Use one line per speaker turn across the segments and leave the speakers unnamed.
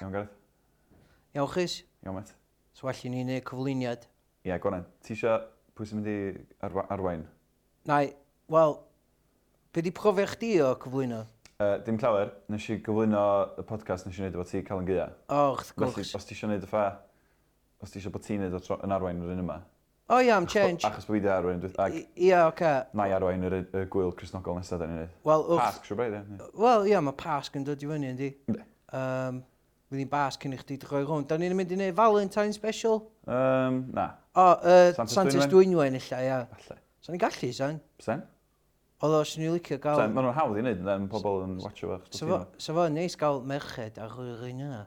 Iawn Gareth?
Iawn chys,
Iawn met?
so allan ni wneud cyflwyniad.
Ie, Goran, ti eisiau pwy sy'n mynd i arwa- arwain?
Na, wel, be di profiad chdi o cyflwyno?
Uh, dim llawer, nes i gyflwyno y podcast nes i wneud efo ti Calan Gia.
O, wrth
Felly,
gwrs.
os ti eisiau wneud y ffa, os ti eisiau bod ti'n wneud o tro- yn arwain yr un yma.
O ia, am change.
Achos bod fi wedi arwain, dwi- ac
I- Ia, oce.
na i arwain yr, y gwyl Cresnogol nesaf da ni'n neud.
Wel, wrth...
Pasg, siw braidd, ie.
Wel, ia, mae pasg yn dod i fyny, yndi?
Yndi.
Um, Bydd hi'n bas cyn i chdi droi rhwng. Da ni'n mynd i wneud Valentine special?
Um, na,
O, uh,
Santes
Santes Dwynwen, illa, ia.
falle.
So ni'n gallu, san?
Sen?
Oedd o, swn i'n licio gael...
Sen, maen nhw'n hawdd i wneud, then pobl yn watcho fo. achos
So
bod
fo,
ti'n-
so fo neis gael merched ar yr un yna.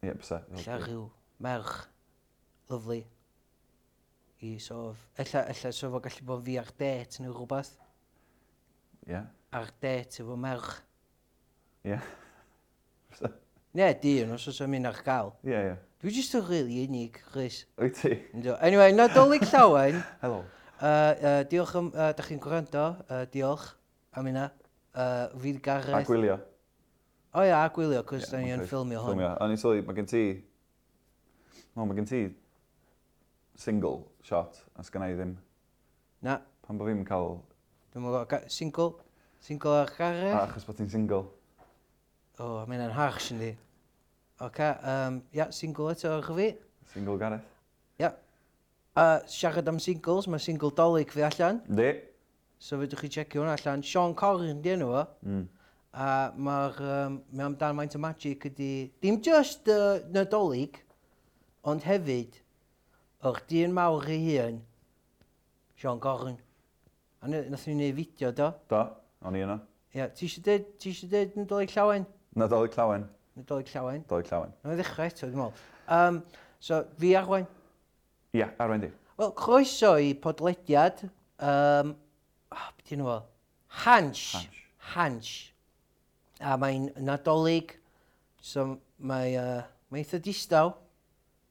Ie, bysa.
Ella rhyw merch lyflu. I sof. Ella, ella so fo gallu bod fi ar det neu rhywbeth.
Ie,
Ar det efo merch.
ie. Bysa.
Ne, di yn os oes am un ar gael.
Ie, ie.
Dwi jyst yn rili unig, Rhys.
Wyt ti?
Yndw. Anyway, nadolig llawen.
Helo.
Uh, uh, diolch am... Uh, da chi'n gwrando. Uh, diolch. Am yna. Uh, fi
A
Gareth.
gwylio.
O ia, a gwylio, cos
Ie,
da ni yn
oce,
ffilmio hwn.
Ffilmio. O'n i'n sylwi, mae gen ti... No, mae gen ti single shot, a sgynna i ddim.
Na,
Pan bod fi'n cael...
dwi'n mwyn single. Single ar Gareth.
A achos bod ti'n single.
O, oh, mae'n yn harsh yndi. Ok, um, ia, single eto ar fi.
Single Gareth.
Ia. Uh, siarad am singles, mae single dolyg fi allan.
Di.
So fydwch chi checio hwnna allan. Sean Corrin di enw fo.
Mm.
A mae'r, um, mae amdan Maint o Magic ydi, dim just uh, nadolig, ond hefyd, o'r dyn mawr ei hun, Sean Corrin. A n- nath ni'n gwneud fideo do.
Do. O'n i yno.
Ia, ti eisiau dweud, ti eisiau dweud nadolig llawen?
Nadolig llawen.
Nadolig llawen.
Nadolig llawen.
Mae'n ddechrau eto, dwi'n meddwl. Um, so, fi arwain.
Ia, arwain di.
Wel, croeso i podlediad. Um, oh, beth yw'n fo? Hansh.
Hansh.
Hansh. A mae'n nadolig. So, mae, uh, mae eitha distaw.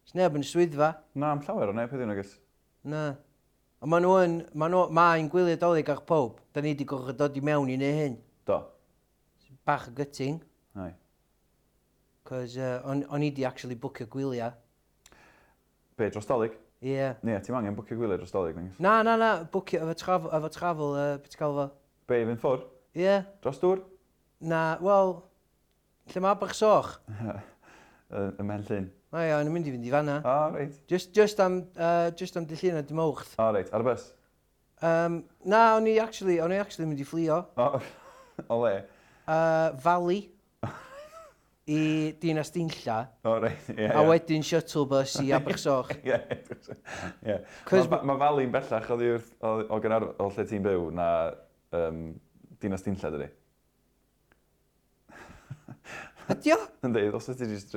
Os neb yn y swyddfa.
Na, am llawer o neb heddiw nagos.
Na. A maen nhw yn, maen nhw, mae'n gwylio dolyg ar pob. Da ni wedi gorfod dod i mewn i neu hyn.
Do.
Bach y gyting.
Ai.
Cos uh, o'n o'n i wedi actually bwcio gwyliau.
Be, dros dolyg?
Ie. Yeah.
Ie, ti'n angen bwcio gwylio dros dolyg nagos.
Na, na, na, bwcio efo trafel, efo trafel, uh, beth gael fo.
Be, i fynd ffwr?
Ie, yeah.
Dros dŵr?
na, wel, lle mae bach soch.
Y y men llun.
Na ia, yn mynd i fynd i fanna.
O, reit.
Just, just am, uh, just am dillun a dim owch.
O, reit. Ar y bus.
Um, na, o'n i actually, o'n i actually mynd i fflio.
O, o le.
Uh, Fali i Dinas Dinlla.
O, reit. Ie,
A
ie.
wedyn shuttle bus i Abersoch.
Ie, ie.
Cos-
Mae ma Fali'n bellach oddi wrth o, o, gynar, o lle ti'n byw na um, dinas dinlla dydy.
Ydio?
Yndi, os ydy jyst...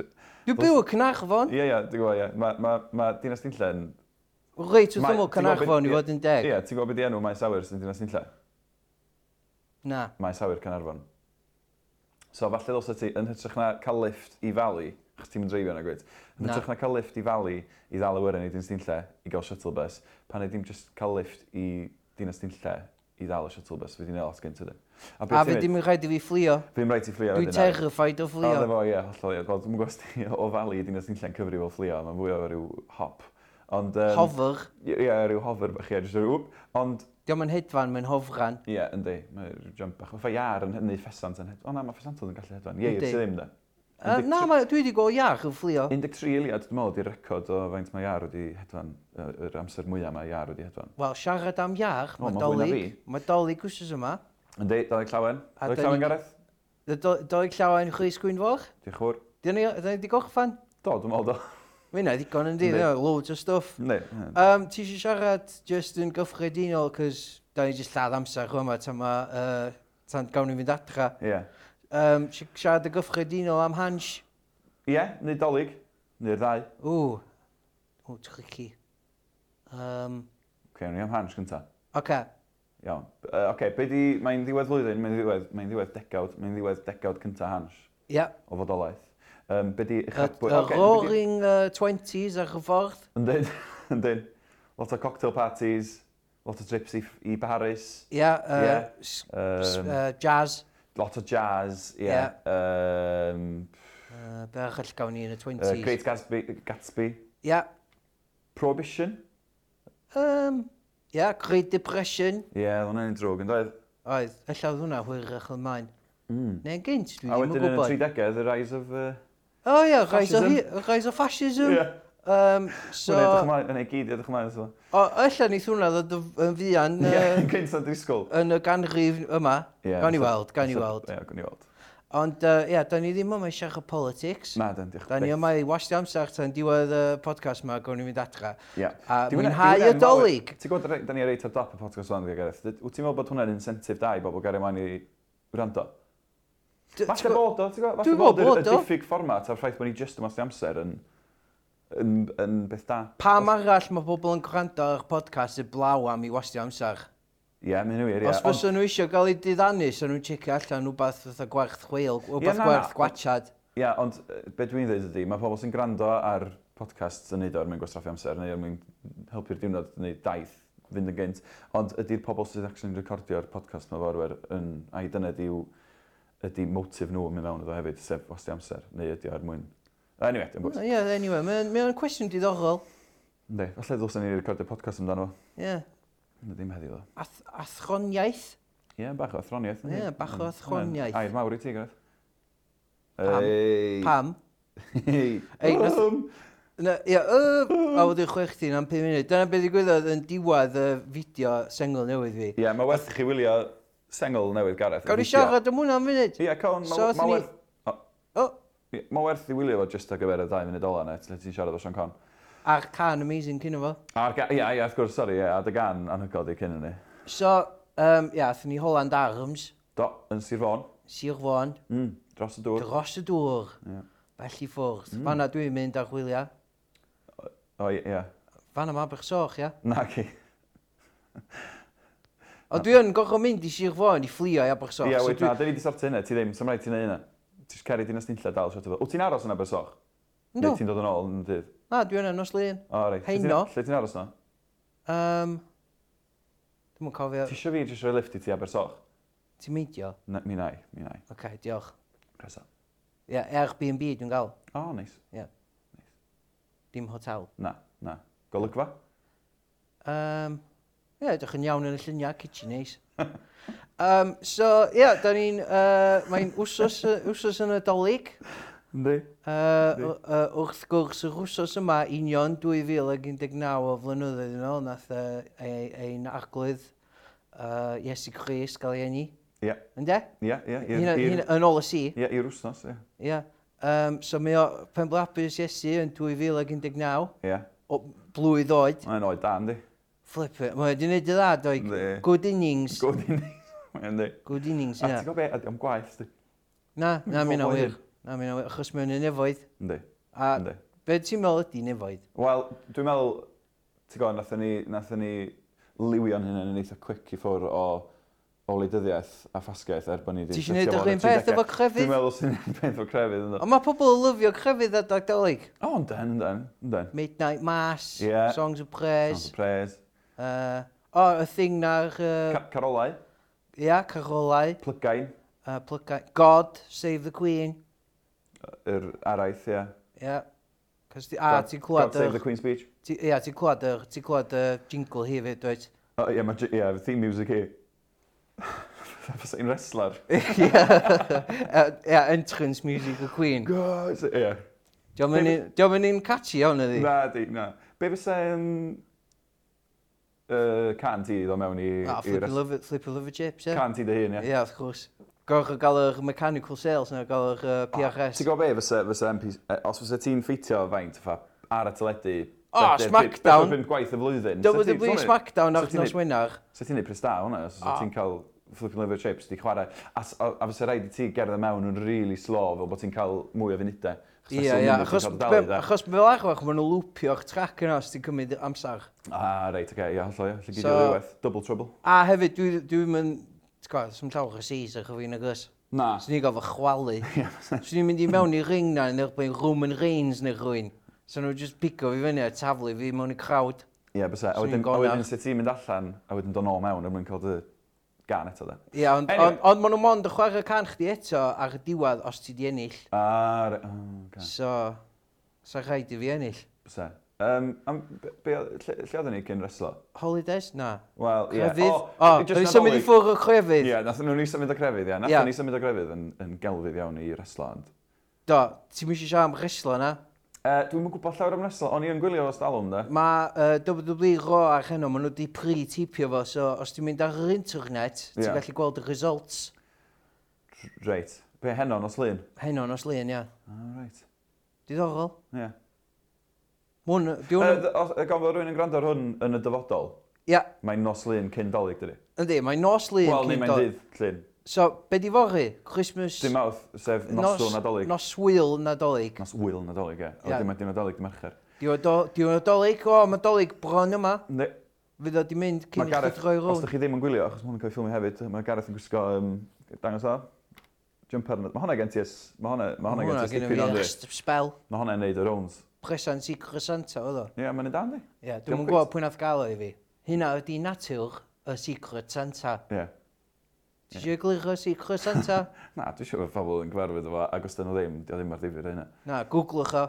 Dwi'n byw y Cynarfon.
Ie, ie, dwi'n gwybod, ie. Mae ma, ma dinas dinlla yn...
Reit wrth
Mae- ti'n
ymwyl
gwbod be-
Cynarfon i fod yn deg.
Ie, ti'n gwybod beth i enw Maes Awyr sy'n dinas dinlla?
Na.
Maes Awyr Canarfon. So, falle os ydy yn hytrach na cael lift i Fali, achos ti'n mynd dreifio yna gwyd, yn
Na.
hytrach na cael lift i Fali i ddal awyr yn ei dinas dinlla i gael shuttle bus, pan e ei dim just cael lift i dinas dinlla i ddal y shuttle bus, fe di'n ei lot gynt ydyn.
A fe dim yn rhaid i fi fflio.
Fi'n rhaid i fflio
Dwi'n
wedyn, na.
terrified o
O,
fflio.
dyma fo, ie, hollol ie. Wel, Dwi'n gwybod ti o falu i dinas nillen cyfri fel fflio, mae'n fwy o ryw hop. Ond, yym,
Hover.
Ie, ie, ryw hofer bach ie, jyst ryw wwp. Ond,
Diolch yn hedfan, mae'n hofran.
ie, yndi, mae ryw jump bach. Fai iar yn hynny ffesant yn hedfan. O na, mae ffesantod yn gallu hedfan. Ie, ie,
Yndi.
ti ddim da.
Uh, na, ma, dwi wedi gweld iach yn fflio.
13 eiliad, dwi'n meddwl, di'r record o faint mae iar wedi hedfan, y- yr amser mwyaf mae iar wedi hedfan.
Wel, siarad am iach,
O,
mae
ma' fwy na
dolyg, mae dolyg wrsos yma.
Yndi, doleg llawen.
A
Doleg
dan
llawen,
ni-
Gareth.
Y do- Dolyg llawen chwys gwynfoch.
Diolch fwr.
Dyn ni wedi gorffan.
Do, dwi'n meddwl, do.
Mae yna ddigon yn di,
Yndi.
yna, loads o stwff.
Yndi, ie.
Um, ti eisiau siarad just yn gyffredinol, cos da ni jyst lladd amser rhwma tan ma, uh, tan gawn ni fynd adra.
Ie.
Um, si- siarad y gyffredinol am hans.
Ie, neu dolyg, neu'r ddau.
Ww, ww, tricky. Um,
Oce, ni am hans gyntaf.
Oce,
Iawn. Uh, Oce, okay, be di... Mae'n ddiwedd flwyddyn, mae'n ddiwedd, mae'n ddiwedd degawd, mae'n ddiwedd degawd cynta hans
ia.
o fodolaeth. Um, be di...
Y
uchafbwy-
y
Oce, be 'di-
roaring uh, 20s ar y ffordd.
Yndyn, yndyn. Lot o cocktail parties, lot o trips i, f- i Paris,
Ia, uh,
Ie.
s- s-
um,
uh, jazz.
lot o jazz, ie.
Ie.
Um,
Yy, Uh, Berch all gawn ni yn y
Uh,
20s.
Great Gatsby, Gatsby,
Ia.
Prohibition.
Um, ia, Great Depression.
Ie, yeah, hwnna'n un drwg yn doedd.
Oedd, ella oedd hwnna hwyrach yn maen. Mm. Neu'n gynt, dwi
Hmm. A
ddim yn
wedyn yn y
gwybod.
30au, the rise of... Uh,
O ia, rise o
Fascism.
hi- rise o fascism.
yeah.
Um,
So...
so,
Hwna edrych ymlaen, hwnna i gyd edrych ymlaen. So.
o, ella wneith hwnna ddod yn- yn fuan
Ie,
yy,
gynt o'n disgwyl.
yn y ganrif yma.
Ie,
Gawn ni
so-
weld, gawn ni
so-
weld.
Ie, gawn ni weld.
Ond, yy, ia, da ni ddim yma i siarad politics.
Na, dyn, diolch.
Da ni yma i wastio amser tan diwedd y podcast yma, gawn ni fynd adra.
Ie.
A
Di hwnna-
mwynhau
di hwnna'n
y dolyg.
mawr- Ti'n gwybod, reit- da ni ar reit ar dop y podcast o'n dweud, Gareth. Dy- Wyt ti'n meddwl bod hwnna'n incentive da i bobl gario ymlaen i wrando?
D-
Falle bod o, ti'n gwybod?
Dwi'n
Falle bod
meddwl
y- y
bod o.
diffyg fformat a'r ffaith bod ni jyst yma sy'n amser yn, yn, yn beth da.
Pam arall mae bobl yn gwrando ar podcast y blaw am i wastio amser?
Ie, mae'n wir, ie.
Os
Ond-
fysa nhw eisiau gael eu diddannu, so nhw'n checio allan rhywbeth fatha gwerth chweil,
Ie, na,
rhywbeth
na.
gwerth gwachad.
Ie, ond yy, be dwi'n dweud ydy, mae pobl sy'n gwrando ar podcasts yn neud o'r mynd gwastraffu amser, neu o'r mynd helpu'r diwrnod, neu daith fynd yn gynt. Ond ydy'r pobl sy'n actually'n recordio'r podcast mae forwer yn... A i dyna ydy, ydy motif nhw yn mynd mewn iddo hefyd, sef wasti amser, neu ydy o'r mwyn. Anyway, dim bwys.
Ie, yeah, anyway, mae'n mae o'n cwestiwn diddorol.
Ne, falle ddwsyn ni'n recordio podcast amdano fo.
Ie, yeah.
Na ddim heddiw ddo.
Ath athroniaeth.
Ie, bach o athroniaeth. yndi?
Ie, bach o
Mm.
athroniaeth.
Air mawr i ti, Gareth.
Pam?
Ei.
Pam? Ei,
Ei,
nath- Na, Ie, yy, a wedi chwech ti'n am 5 munud. Dyna beth i gwyddoedd yn diwedd y fideo sengl newydd fi.
Ie, mae werth i chi wylio sengl newydd Gareth. y
Gawn ni
fideo.
siarad am hwnna'n munud.
Ie, cawn,
So athon
mae
ni-
werth...
O,
ie, Ma werth i wylio fo jyst ar gyfer y 2 munud ola na, lle ti'n siarad o Sean Con.
a'r can amazing cyn efo.
A'r ga- Ie, ie, wrth gwrs, sori, ie, a dy gan anhygoel di cyn ni.
So, um, ia, athyn ni Holland Arms,
Do, yn Sir Fôn,
Sir Fôn,
mm, dros y dŵr.
dros y dŵr,
Ie.
bell i ffwrdd. Mm. Fanna dwi'n mynd ar wyliau.
O, ie, ie.
Fanna mae Abersoch, ia.
Na ci.
O dwi yn gorfod mynd i Sir Fôn i fflio i Abersoch.
Ie,
so
wait,
dwi-
na, dyn ni di sorti hynna, ti ddim, sam rhaid ti'n neud hynna. Ti'n ceri dinas nilla dal, siarad o. Wyt ti'n aros yn Abersoch?
Yndw.
Neu ti'n dod yn ôl yn y dydd?
Na, dwi yna nos lun.
O, rei.
Heino.
Lle ti'n aros na?
Um, Dwi'n mwyn cofio,
Ti eisiau fi jyst roi lift i ti Abersoch?
ti'n meidio?
Na, mi nai, mi nai.
Oce, okay, diolch.
Cresa.
Ia, Airbnb dwi'n gael,
O, neis.
dim hotel.
Na, na. Golygfa?
Um, ie, edrych yn iawn yn y lluniau, kitchen neis. um, so, ie, yeah, da ni'n... Uh, Mae'n wsos, wsos yn y dolyg.
Yndi.
Uh,
Yndi.
uh, wrth gwrs, yr wsos yma, union 2019 o flynyddoedd yn ôl, nath uh, ei- ein arglwydd uh, Iesu Chris gael ei eni.
Ie.
Ynde?
Ie, ie, ie.
Hynna-
i'r-
hynna Yn ôl y si.
Ie, i'r wsnos, ie.
Ie. Um, so mae o penblapus Iesu yn 2019,
Ie.
o blwydd oed.
Mae'n oed da, yndi?
Flipper, mae wedi gwneud y dda, doig.
Yndi.
Good innings.
Good innings. Yndi.
Good innings,
A ti'n
yna.
gwybod be, am gwaith, di?
Na, na,
Mae'n
mi'n
bob
awyr.
blwyddyn.
Na, mi'n awyr, achos mae'n yn efoedd.
Yndi,
A
yndi.
be ti'n meddwl ydi nefoedd?
Wel, dwi'n meddwl, ti'n gwybod, nathon ni, nathon ni liwio'n hynny yn eitha quick i ffwr o olydyddiaeth a ffasgaeth er bod ni wedi...
Ti isio neud yr un peth efo crefydd?
Dwi'n meddwl sy'n neud peth efo crefydd ynddo.
Ond mae pobl yn lyfio crefydd adag dolyg.
O, ynden, ynden, ynden.
Midnight Mass,
Ie.
Songs of Prayers.
Pres.
Uh, o, y thing na'r... Ia,
Ca- Carolau,
uh, yeah, carolau.
plygain,
Uh, plygau. God, Save the Queen.
yr araith, ie.
Ia. Yeah. A,
God-
ti'n
God
clywed
Save the
yr...
Queen's Speech.
ti- Ia, ti'n clywed yr... Ti'n clywed y jingle hefyd, dweud.
O, Ie, mae j- ie, theme music hi. Fysa un wrestler.
Ia, ia, entrance music y Queen.
God, ie.
Diolch yn un- 'di o'm yn un catchy iawn ydi.
Na, di, na. Be fysa um, uh, can ti ddod mewn i...
A,
i
Flippy
res-
Lover, Flippy Lover Chips, ie.
Can ti dy hun, ie.
Ia, wrth gwrs. Gorch o gael yr mechanical sales na, gael yr uh, PRS.
Ti'n gwybod be fysa, fysa MP... eh, Os fysa ti'n ffeitio faint fa, ar y teledu...
O,
bedair-
Ah, Smackdown.
bedair pump gwaith y flwyddyn. sa ti'n-
WWE
sori,
Smackdown
sa
ar
ti'n
nos
neud-
Wenar.
Sa ti'n neud pres da hwnna, os
O.
fysa ti'n cael flipping liver chips di chwarae. A, s- a, a fysa rhaid i ti gerdd y mewn yn really slow, fel bod ti'n cael mwy o funudau.
Ie, ie, achos, be- achos fel arwach, maen nhw lwpio'r trac yna os ti'n cymryd amser.
Ah, reit, oce, ie, hollol, ie. Lle gyd i
So-
rhywbeth. Double trouble.
A hefyd, dwi ddim yn... Ti'n gwybod, sy'n llawer o seas ar chyfyn ag ys.
Na.
Swn i'n gofio chwalu. Swn i'n mynd i mewn i ring na yn erbyn Roman Reigns neu rhywun. So nhw'n just bigo fi fyny a taflu fi mewn i crowd.
Ie, bysa. A
Swn i'n
wedyn, a
gonach.
wedyn sut ti'n mynd allan, a wedyn dod nôl mewn, a mwyn er cael dy gan eto da.
Ie, ond
Anyway.
anyway. on, maen nhw mond yn chwarae can chdi eto ar y diwedd os ti di ennill.
Ar... Oh, gan.
So, sa rhaid i fi ennill.
Se. Um, am, be, be, oedd- lle, lle oedden ni cyn reslo?
Holidays? Na.
Wel, ie.
Crefydd? O, dwi symud i ffwrdd o crefydd.
Ie, nathon nhw'n ni symud o crefydd, ie. Nathon
Ie.
ni symud o crefydd yn, yn gelfydd iawn i reslo. Ond.
Do, ti'n mysio siarad am reslo na?
Uh, Dwi'n gwybod llawer am reslo, o'n i yn gwylio os dalwm, da.
Mae uh, WWE Raw ar heno, maen nhw wedi pre-tipio fo, so os ti'n mynd ar yr internet, ti'n
Ie.
yeah. gallu gweld y results
Reit. Be henon os lun?
heno nos lun, ia.
Ah, reit.
Diddorol.
Ie.
Mwyn, di
Yy,
hwn...
d- os- Gan fod rhywun yn gwrando ar hwn yn y dyfodol,
Ia,
mae'n nos lun cyn dolyg, dydy?
yndi, mae nos lun
Wel, neu
cyn
mae'n
dod.
dydd llun.
So, be di fory? Christmas...
Dim mawth, sef noswyl nadolig.
Nos wyl nadolig.
Nos wyl nadolig, ie. O,
Ie.
dim dim nadolig, dim mercher.
Di hwn nadolig, o, nadolig bron yma.
Ne-
Fydd o di mynd
Mae
cyn i
Gareth,
chi droi
os
rown.
ydych chi ddim yn gwylio, achos mae hwn yn cael ei ffilmio hefyd, mae Gareth yn gwisgo, um, dangos o, jumper. Mae hwnna gen ti es, mae hwnna, mae hwnna gen ti es dipyn o'n
fi
dwi.
st- spel.
Mae hwnna'n neud y rounds.
Presant i Cresanta, oedd o.
Ie, mae'n ei dan di.
Ie,
Diolch
dwi'n
yn
gwybod pwy nath gael o i fi. Hynna ydi natur y Secret Santa.
Ie.
Ti eisiau egluro Secret Santa?
Na, dwi'n siŵr bod pobl yn gyfarwydd efo, ac os dyn nhw ddim, dio ddim ar ddifur hynna.
Na, googlwch o.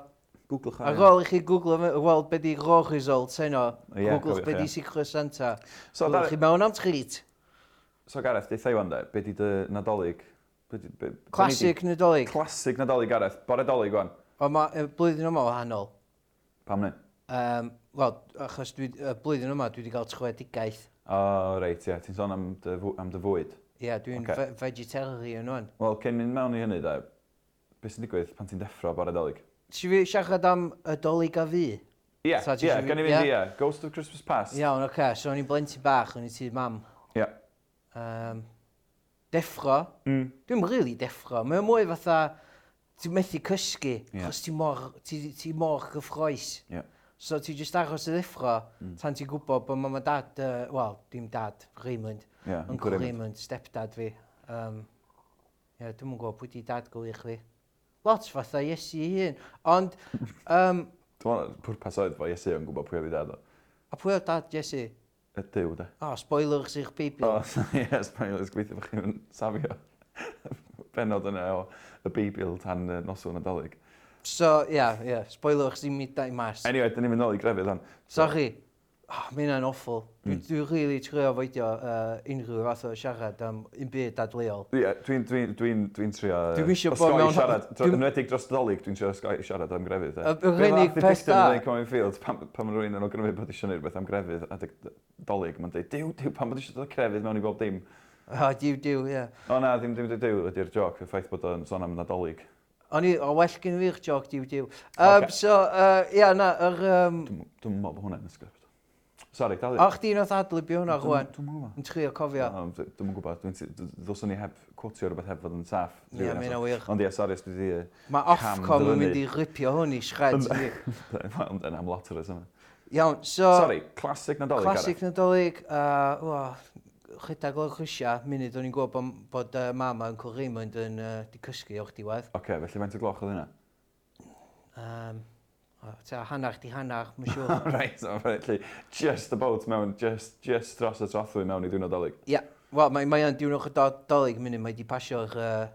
Googlech
Ar ôl i chi googlo, fe- weld be di raw results heno,
Ie,
googlwch
cofiwch,
be
ie.
di Secret Santa.
So,
Byddwch
Gareth,
chi mewn am treat.
so Gareth, deitha i wan de, be di dy nadolig? Be di- be-
Classic
be ni 'di-
Nadolig.
Classic nadolig, Gareth. Bore dolyg, wan.
O, ma, y blwyddyn yma o wahanol.
Pam ni?
Um, Wel, achos dwi, y blwyddyn yma dwi wedi cael trwedigaeth.
O, reit, ie. Ti'n sôn am dy fw- am dy fwyd.
Ie, dwi'n
Ocê.
okay. vegetarian o'n.
Wel, cyn mynd mewn i hynny, de, beth sy'n digwydd pan ti'n deffro bore dolyg?
Si fi siarad am y dolyg a fi?
Ie,
So ti
ie,
isio fi-
gan i
ie?
fynd ie. Ghost of Christmas Past. Ie.
Iawn, oce, okay, so o'n i'n blentyn bach, o'n i tu mam. Um, deffro.
Mm.
Dwi'n really deffro. Mae'n mwy fatha, ti'n methu cysgu,
Ie.
yeah. chos ti mor, ti, ti mor gyffroes.
Ie.
So ti jyst aros y ddeffro, mm. tan ti'n gwybod bod mam a dad, uh, wel, dim dad, Raymond,
Ie, yn
Uncle Raymond, stepdad fi. Um, yeah, dwi'n yn gwybod pwy di dad gwyr chwi. Lot fatha Iesu ei hun. Ond, um,
Dwi'n pwrpas oedd fo Iesu yn gwybod pwy oedd i dad o.
a pwy o dad Iesu?
Y dyw, de.
O, oh, spoilers i'r Beibl.
O, ie, Spanglers, gweithio bod chi'n safio benod yna o y Beibl tan uh, noswn nadolig.
So, ie, yeah, ie, yeah, spoilers i mi dau mas.
Anyway, dyn ni'n mynd nôl i grefydd hon.
Sorry. Oh, mae hynna'n awful.
Hmm.
Mm. Dwi'n rili really trio feidio uh, unrhyw fath o siarad am un byd dadleol.
Ie, dwi'n dwi, dwi, dwi trio yy,
Dwi'm isio bod
osgoi
mewn-
siarad. Dwi...
dwi'm-
Yn wedig dros nadolig, dwi'n trio osgoi siarad am grefydd.
Y- yr unig peth
da.
da-
Dwi'n Comin Fields, pam, pam mae rhywun yn ogrymu bod eisiau gwneud rhywbeth am grefydd a dy- dolyg, mae'n dweud, diw, diw, pam bod eisiau dod crefydd mewn i bob dim.
O, diw, diw, ie.
O na, ddim ddim ddim ydy'r joc, y ffaith bod o'n sôn am nadolig.
O'n i, o well gen fi'r joc, diw, diw. Um,
Ocê.
okay. So, uh, ie, yeah, na, yr... Um,
Dwi'n dwi'n meddwl bod hwnna'n ysgrifft. Sorry, dal i.
o, chdi nath adlibio hwnna rwan.
Dwi'n meddwl.
Yn trio cofio.
Um, d- Dwi'm yn gwybod, dwi'n t- d- ddylswn i heb cwtio rhywbeth heb fod yn saff.
Ie, yeah, mae'n awyr.
Ond ie, sori, os dwi di...
Mae
Cam
Ofcom yn
dylynu.
mynd i ripio hwn i shred. yndi?
Wel, yn am lot o'r yma.
Iawn, so...
Sori, classic nadolig.
Classic Nadolig, uh, o, chydag o'r chrysia, munud o'n i'n gwybod bod, bod uh, mama yn Raymond yn uh, di cysgu o'r diwedd.
Oce, okay, felly mae'n gloch oedd hynna.
Um, o, ta, hannar di hannar, mae'n siŵr.
Reit, so, felly, just about mewn, just, just dros y trothwy mewn i dwi'n nadolig.
Ia, wel, mae mae o'n diwrnod o do- dolyg munud, mae di pasio'r uh,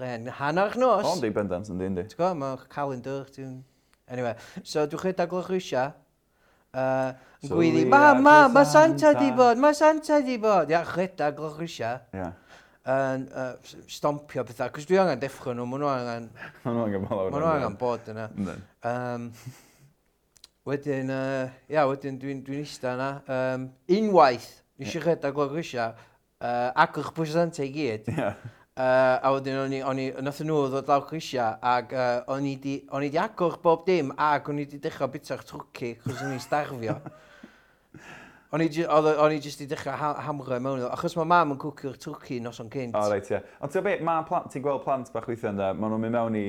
ren hannar nos.
Ond i bendant yn dyn di.
Ti'n gwybod, mae'r calendar, ti'n... Anyway, so dwi'n chwedag o'r chrysia, uh, yn
So
gwyddi,
we
ma,
are
ma,
the
mae Santa di
Santa."
bod, mae Santa di bod. Ia, chwedag o'r chrysia,
Ie.
yn uh, stompio pethau, cos dwi angen deffro nhw, maen nhw angen,
Mae nhw angen bod lawr.
maen nhw angen bod yna.
angen.
Um, wedyn, uh, ia, wedyn dwi'n dwi eista yna. Um, unwaith, nes i rhedeg o'r rysia, uh, ac o'ch bwysanta i gyd.
Ie.
Uh, a wedyn o'n i, o'n i, nath nhw ddod lawr rysia, ac uh, o'n i di, o'n i di agor bob dim, ac o'n i di dechrau bitach trwci, chos o'n i'n starfio. O'n i, ju- oedd- o'n i jyst i dechrau ha hamro i mewn iddo, achos mae mam yn cwcio'r trwci nos o'n gynt.
O, reit, ie. Ond ti'n gwbod be, mae plant, ti'n gweld plant bach weithio yna, maen nhw'n mynd mewn i,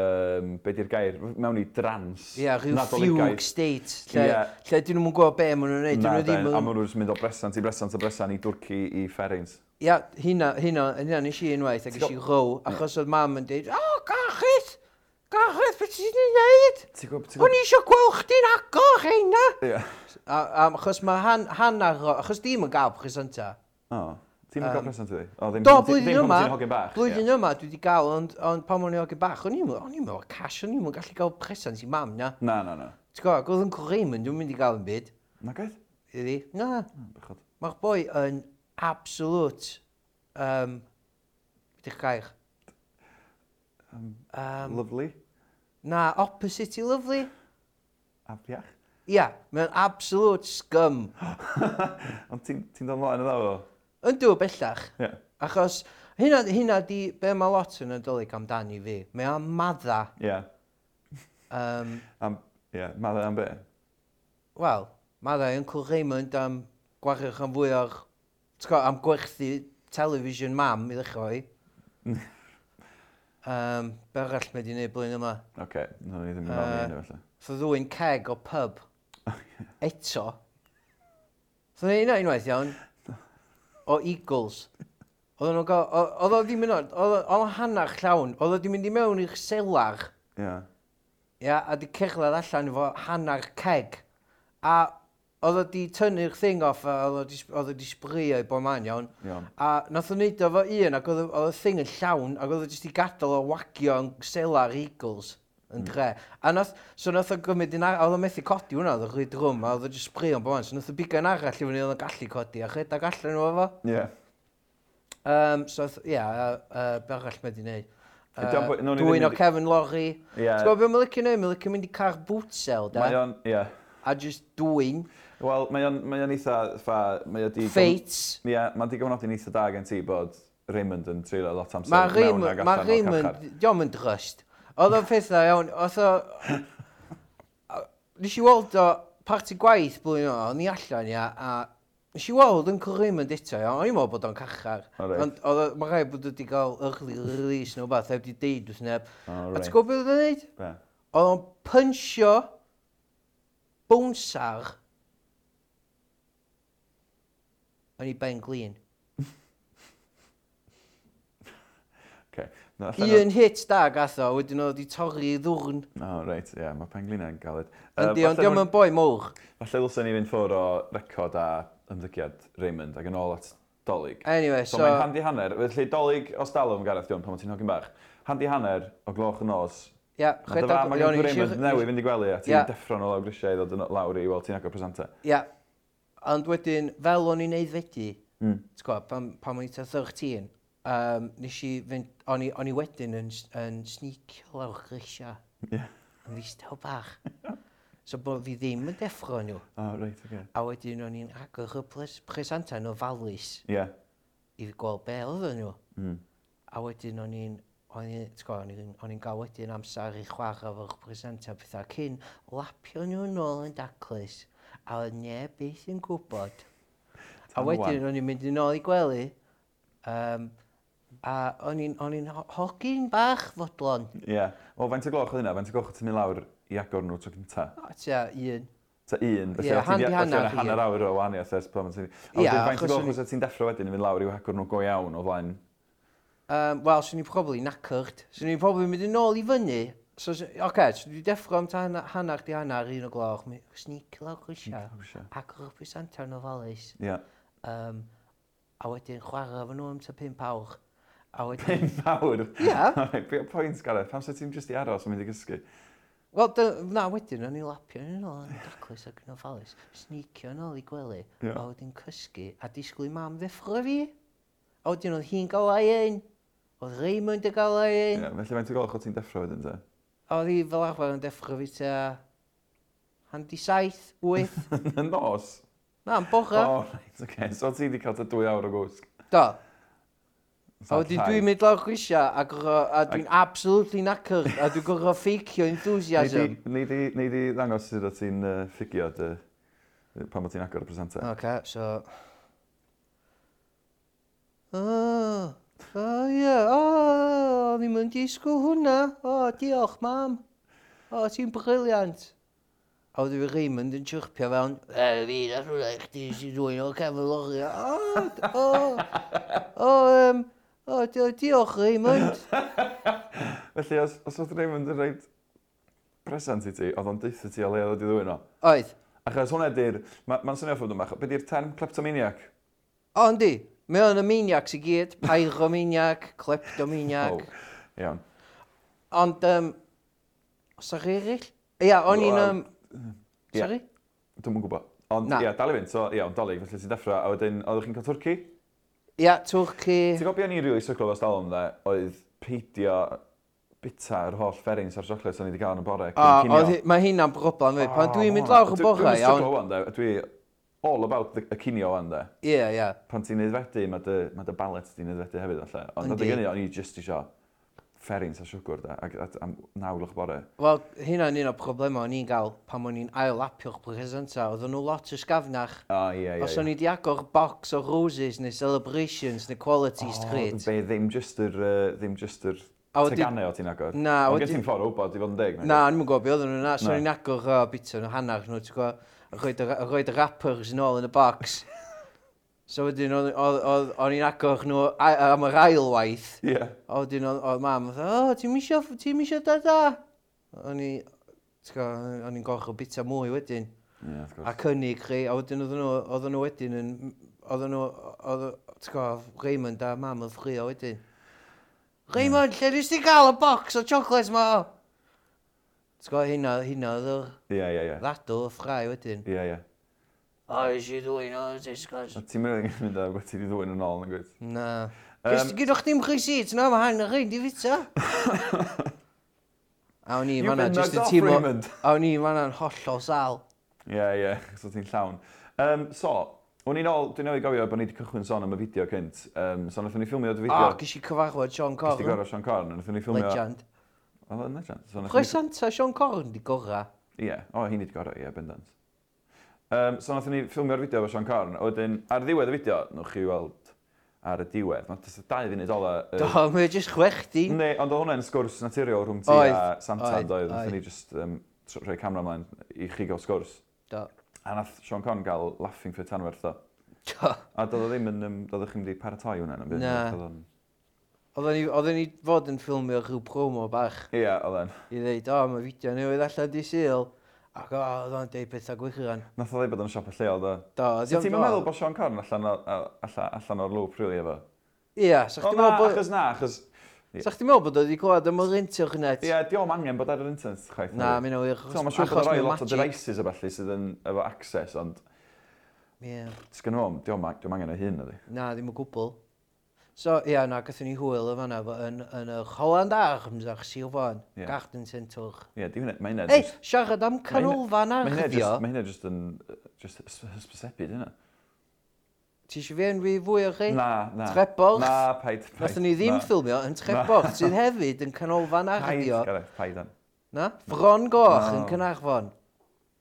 um, be di'r gair, mewn i drans.
Ie, rhyw fugue
Nadoligaidd.
state, lle,
Ie.
lle dyn nhw'n gwybod be maen nhw'n gwneud,
Na,
dyn nhw
de,
ddim
a
yn
maen nhw'n mynd o bresant i bresant i bresant i dwrci i fferins.
Ia, hynna, hynna, hynna nes i unwaith ac
Ti'n
eisiau
gwbo-
row, achos oedd mam yn dweud, o, Gareth, Gareth, beth ti'n ei wneud?
Ti'n gwybod, ti'n
O'n i eisiau gweld chdi'n agor hynna.
gwybod? Ie.
A, a, achos mae han, hannar, o- achos dim yn gael presenta.
O, Ti'n
Yym,
mynd gorfod sy'n ti? O, ddim
Do,
pan ti-
blwyddyn
ddim pan
yma-
ti'n hogyn bach.
Blwyddyn yma dwi wedi gael, ond, ond pan o'n i o'r bach, o'n i'n o'n i'n meddwl, cash, o'n i'n meddwl gallu gael presant i mam na.
ie. Na, na, na.
T'w gwybod, ac oedd yn Coraemon, dwi'n mynd i gael yn byd.
Na gaeth?
Iddi? Na,
Bychod.
mae'r boi yn absolute, um, beth gair? Um,
Lovely.
na, opposite i lovely?
Afiach.
Ia, mae'n absolute scum.
Ond ti'n ti dod mlaen y ddawel?
Yndw, bellach.
Ie.
Achos hynna, hynna di be mae lot yn adolyg amdani fi. Mae am madda.
Ie.
Um,
Am, ie. Madda am be?
Wel, mae dda yn cwr Raymond am gwarioch am fwy o'r... t'go, am gwerthu television mam i ddechrau. um, be arall mae di wneud blwyddyn yma?
Oce. No, ni ddim yn
Yy.
ofni hynny felly.
Tho ddwy'n keg o pub. Eto. Tho ni yna unwaith iawn. O Eagles. Oedden nhw'n gael... o- Oedd o ddim yn... Oedd o- oedd o'n hannar llawn. Oedd o ddim mynd i mewn i'r selar.
Ie.
Ia, a di cerdded allan efo hanner keg. A oedd o di tynnu'r thing off a oedd o di sp- oedd o di sbrio i bo man iawn.
Iawn.
A nath o neud o fo un ac oedd o- oedd y thing yn llawn ac oedd o jyst i gadael o wagio yn selar Eagles yn dre.
Hmm.
A nath, so nath o gymryd un arall, oedd o methu codi hwnna, oedd o rhy drwm, a oedd o jyst sbrio yn bo man. So nath o bigan arall i fyny oedd o'n gallu codi a rhedeg allan efo fo.
Ie.
Um, so, nath- ie, yeah, uh, be arall mae di wneud.
Yy, dim bo- nawn ni ddim
Dwi'n o
mynd i-
Kevin Lorry.
Ie.
Ti'n gwybod beth mae'n licio neud? Mae'n licio mynd i car boot sale, da?
Mae o'n, ie.
A just dwi'n
Wel, mae o'n mae o'n eitha, ffa, mae o di...
fates.
Ie, mae di gofnodi'n eitha da gen ti bod Raymond yn treulio lot amser
Mae
mewn ag
Raymond,
allan
mae
o'r
Raymond,
carchar.
diolch yn drust. Oedd o'n pethau iawn, oedd o... a- Nes i weld o parti gwaith blwyddyn yma, o'n i allan ia, a nes i weld yn cwr Raymond eto, iawn, o'n i'n meddwl bod o'n cachar.
O, reit.
Ond oedd o- mae rhaid bod wedi cael early release neu beth, heb di deud wrth neb.
O,
A
reit.
ti'n gwybod beth oedd o'n neud?
Be?
Oedd o'n pynsio bwnsar yn ei ben glin.
Oce. No, allan o'r-
Un hit da gath o, wedyn oedd wedi torri i ddwrn.
O, reit, ie, mae penglin yn galed.
Yndi, ond diolch yn boi mwch.
Falle ddylsyn ni fynd ffwr o record a ymddygiad Raymond ac yn ôl at Dolig.
Anyway,
So,
so...
mae'n handi hanner, felly Dolig os dalwm Gareth Dion pan mae ti'n hogyn bach, handi hanner o gloch y nos.
Ia,
Mae dy fa, mae gen Raymond newydd fynd i gwely a ti'n
Ie.
deffro'n o lawr grisiau i ddod yn lawr i weld ti'n agor presenta.
Ia. Ond wedyn, fel o'n i'n neud fedi,
Mm.
ti'n gwybod, pan, pan o'n i'n ta 13, um, nes i fynd, o'n i, o'n i wedyn yn, s- yn sneakio lawr grisia.
Ie.
Yn ddistaw bach. so bod fi ddim yn deffro nhw.
O, reit, oce.
A wedyn o'n i'n agor y pres- presentan o falus
Ie.
i fi gweld be oedden nhw.
Mm.
A wedyn o'n i'n o'n i'n t'go, o'n i'n- o'n i'n gael wedyn amser i chwarae efo'r presenta pethau cyn lapio nhw nôl yn daclus a oedd neb beth yn gwybod. A
Tan
wedyn
ŵan.
o'n i'n mynd yn ôl i gwely um, a o'n i'n- o'n i'n ho- hogyn bach fodlon.
Ie. O, faint o gloch oedd hynna? Faint o gloch oedd ti'n mynd lawr i agor nhw tro cynta?
A tia, un.
Ta un, felly
Ie,
yeah, ti'n
handi
hanner,
hannar i
hanner
un.
awr o wahaniaeth ers pan ti'n...
Ie,
Ie, faint o
achos
gloch
o'n i-
oedd ti'n deffro wedyn i fynd lawr i'w hagor nhw go iawn o flaen.
Um, Wel, swn i'n probably knackered. Swn i'n probably mynd yn ôl i fyny. So, s- oce, okay, so dwi deffro am ta hana- hannar di hannar un o gloch. Mi- Sneak lawr grisia.
Lawr grisia.
Ac o'r presenta yn ofalus.
Ie.
Um, a wedyn chwarae efo nhw am ta pimp awr. A wedyn...
Pum awr?
Ie.
Alright, be' o'r pwynt, Gareth? Pam sy'n ti'n just i aros yn mynd i gysgu?
Wel, dy- na, wedyn, o'n i lapio yn ôl yn daclus ac yn ofalus. Sneakio yn ôl i gwely.
Ie.
A wedyn cysgu a disgwyl i mam ddeffro fi. A wedyn oedd hi'n gael ei un. Oedd Raymond yn gael ei
Ie,
un.
felly faint o golch o ti'n deffro wedyn, te?
A Oedd hi fel arfer yn deffro fi ta... Handi saith, wyth.
Yn y nos?
Na, yn bora.
O, reit, oce. So ti wedi cael ta dwy awr o gwsg?
Do.
Sa'r
A wedyn
llai.
dwi'n mynd lawr grisia a, gorfod- a dwi'n absolutely knacker a dwi'n gorfod ffeicio
Nei di-
enthusiasm.
Nei di nei di ddangos sut o ti'n yy, ffigio dy... pan o ti'n agor y presenta.
Ok, so... O, o ie, o, o'n i'n mynd disgwyl hwnna. O, diolch, mam. O, ti'n briliant. A wedi fi Raymond yn chyrpio fewn, e, fi na rhywle i chdi sy'n dwi'n o'r cefn lori. O, d- o, o, um, o, di- diolch Raymond.
Felly, os, os oedd Raymond yn rhaid present i ti, oedd o'n deitha ti o le oedd o di ddwy'n o.
Oedd,
Achos hwnna di'r... Mae'n ma ma'n swnio ffwrdd yma. Be di'r term kleptomaniac?
o, yndi, Mae o'n aminiac sy'n gyd, pairominiac, cleptominiac.
Oh, Iawn.
Ond, um, os ar eraill? Ia, o'n i'n...
Wel,
Um,
ie.
sorry?
Dwi'n yn gwybod. Ond,
Na.
ia, dal i fynd. So, iawn, dolyg, felly ti'n deffro. A wedyn, oeddech chi'n cael twrci?
Ia, Twrci.
Ti'n gofio ni rili syrclo fo stalwm dde, oedd peidio bita'r holl fferins ar siocled sy'n ni wedi cael yn y bore.
A, oedd hi- mae hynna'n broblem fi. Pan dwi'n mynd lawr y bore, iawn.
Dwi'n dwi, dwi all about the- y cinio wan dde.
Ie, ie.
Pan ti'n neudfedu, mae dy, ma dy balet ti'n neudfedu hefyd falle. Ond oedd
Yndi.
gynnu, o'n i just isio fferins ar siwgwr da, ac at- am nawl o'ch bore.
Wel, hynna'n un o problemau o'n i'n gael pan o'n i'n ail-apio'r presenta. Oedden nhw lot o sgafnach.
O, ie, ie.
Os o'n i di agor box o roses neu celebrations neu quality street.
Be, ddim just yr, yy, ddim just yr
A wedyn-
teganau o ti'n agor.
Na,
Ond
wedyn-
gest ti'n ffordd o wybod i fod yn deg. nag
Na, o'n i'n gwybod beth oedden nhw na. So
Na.
o'n i'n agor uh, bita nhw hanner nhw, ti'n gwybod, a rhoid y- a rhoid y wrappers yn ôl yn y box. so wedyn oedd- oedd- oedd- o'n i'n agor nhw a- am yr ailwaith.
oes? Ie.
A wedyn oedd oedd mam, oedd, o, ti'n misio, ti'n misio da da? O'n i, ti'n gwybod, o'n i'n gorfod bita mwy wedyn.
Ie, wrth gwrs.
A cynnig chi, a wedyn oedden nhw, oedden nhw wedyn yn, oedden nhw, oedd, ti'n gwybod, Raymond a mam yn ffrio wedyn. Raymond, lle nes ti gael y box o chocolates ma? o?" Ti'n gwybod, hynna, hynna oedd yr
Ie, ie, ie.
ddadl y ffrai wedyn.
Ie, ie.
O, ys i dwi'n o'n disgwrs.
A ti'n mynd i'n mynd â beth ti wedi ddwy'n yn ôl yn gwyth.
Na.
Yym.
Gys- Gydwch ddim receipts, na, mae hanner rhaid i fita. A o'n i
You've
fanna,
been
jyst
knocked
yn
off,
teimlo,
Raymond.
a o'n i fanna'n hollol sal.
Ie, ie, so ti'n llawn. Um, so, o'n i'n ôl, dwi'n newid gofio bod ni wedi cychwyn sôn am y fideo cynt. Um, so, nathon ni ffilmio dy
O,
fideo.
gys i cyfarfod Sean
Gysdi
Corn,
gorau Sean Corn, a nathon ni ffilmio...
Ah, oh, legend.
Oedd yn legend. So, nathon ni-
Chwe Santa Sean Corn di gora.
Ie, o, hi'n i'n gorau, ie, bendant. Um, so, nathon ni ffilmio'r fideo efo Sean Corn, a wedyn, ar ddiwedd y fideo, nwch chi weld ar y diwedd. Mae dysgu dau funud ola...
Do, mae jyst chwechdi.
Ne, ond oedd hwnna'n sgwrs naturiol rhwng ti
Oedd,
a Santa,
oedd,
oedd, oedd,
oedd.
nathon ni just um, tr- rhoi camera ymlaen i chi gael sgwrs.
Do,
A nath Sean Conn gael laughing fit anwerth o.
do.
A doedd o ddim yn... Um, doedd o'ch chi'n wedi paratoi hwnna yn y byd.
Na.
Doedd o'n-
Oedden ni, oedden ni fod yn ffilmio rhyw promo bach
Ie, oedd e'n.
i ddeud, o, mae fideo newydd allan di syl. Ac o, oedd o'n deud pethau gwychiran.
Nath o ddeud bod o'n siop y lleol, do.
Do,
So ti'n
do.
meddwl bod Sean Conn allan, o- a- alla- allan o'r lwp rili efo?
Ie, sa'ch
O
ti'n
na,
meddwl bod...
achos na, achos... Ie.
Sa'ch ti'n meddwl bod oedd wedi clywed am yr internet?
Ie, diolch angen bod ar yr internet, chwaith.
Na, mi'n awyr.
So, mae'n siŵr bod o'n rhoi lot o devices o felly sydd yn efo access, ond
Ie.
sgan o, diolch angen o hyn, ydi.
Na, ddim o gwbl. So, ia, na, gathon ni hwyl y fanna fo- yn, yn y Holland Arms ar Sir Fon,
Ie.
Garden Centre.
Ie, di hwnna, mae hynna
Ei,
jyst-
siarad am canolfan
mae hynna
archifio.
e jyst- mae hynna jyst yn... Just hysbysebu, dyna.
Ti eisiau fi enwi fwy o chi?
Na, na.
Treborth?
Na, paid, paid.
Nathon ni ddim
na.
ffilmio yn Treborth, sydd hefyd yn canolfan
Paid,
archifio.
Gareth, paid an.
Na? Fron Goch yn
Na.
Cynarfon.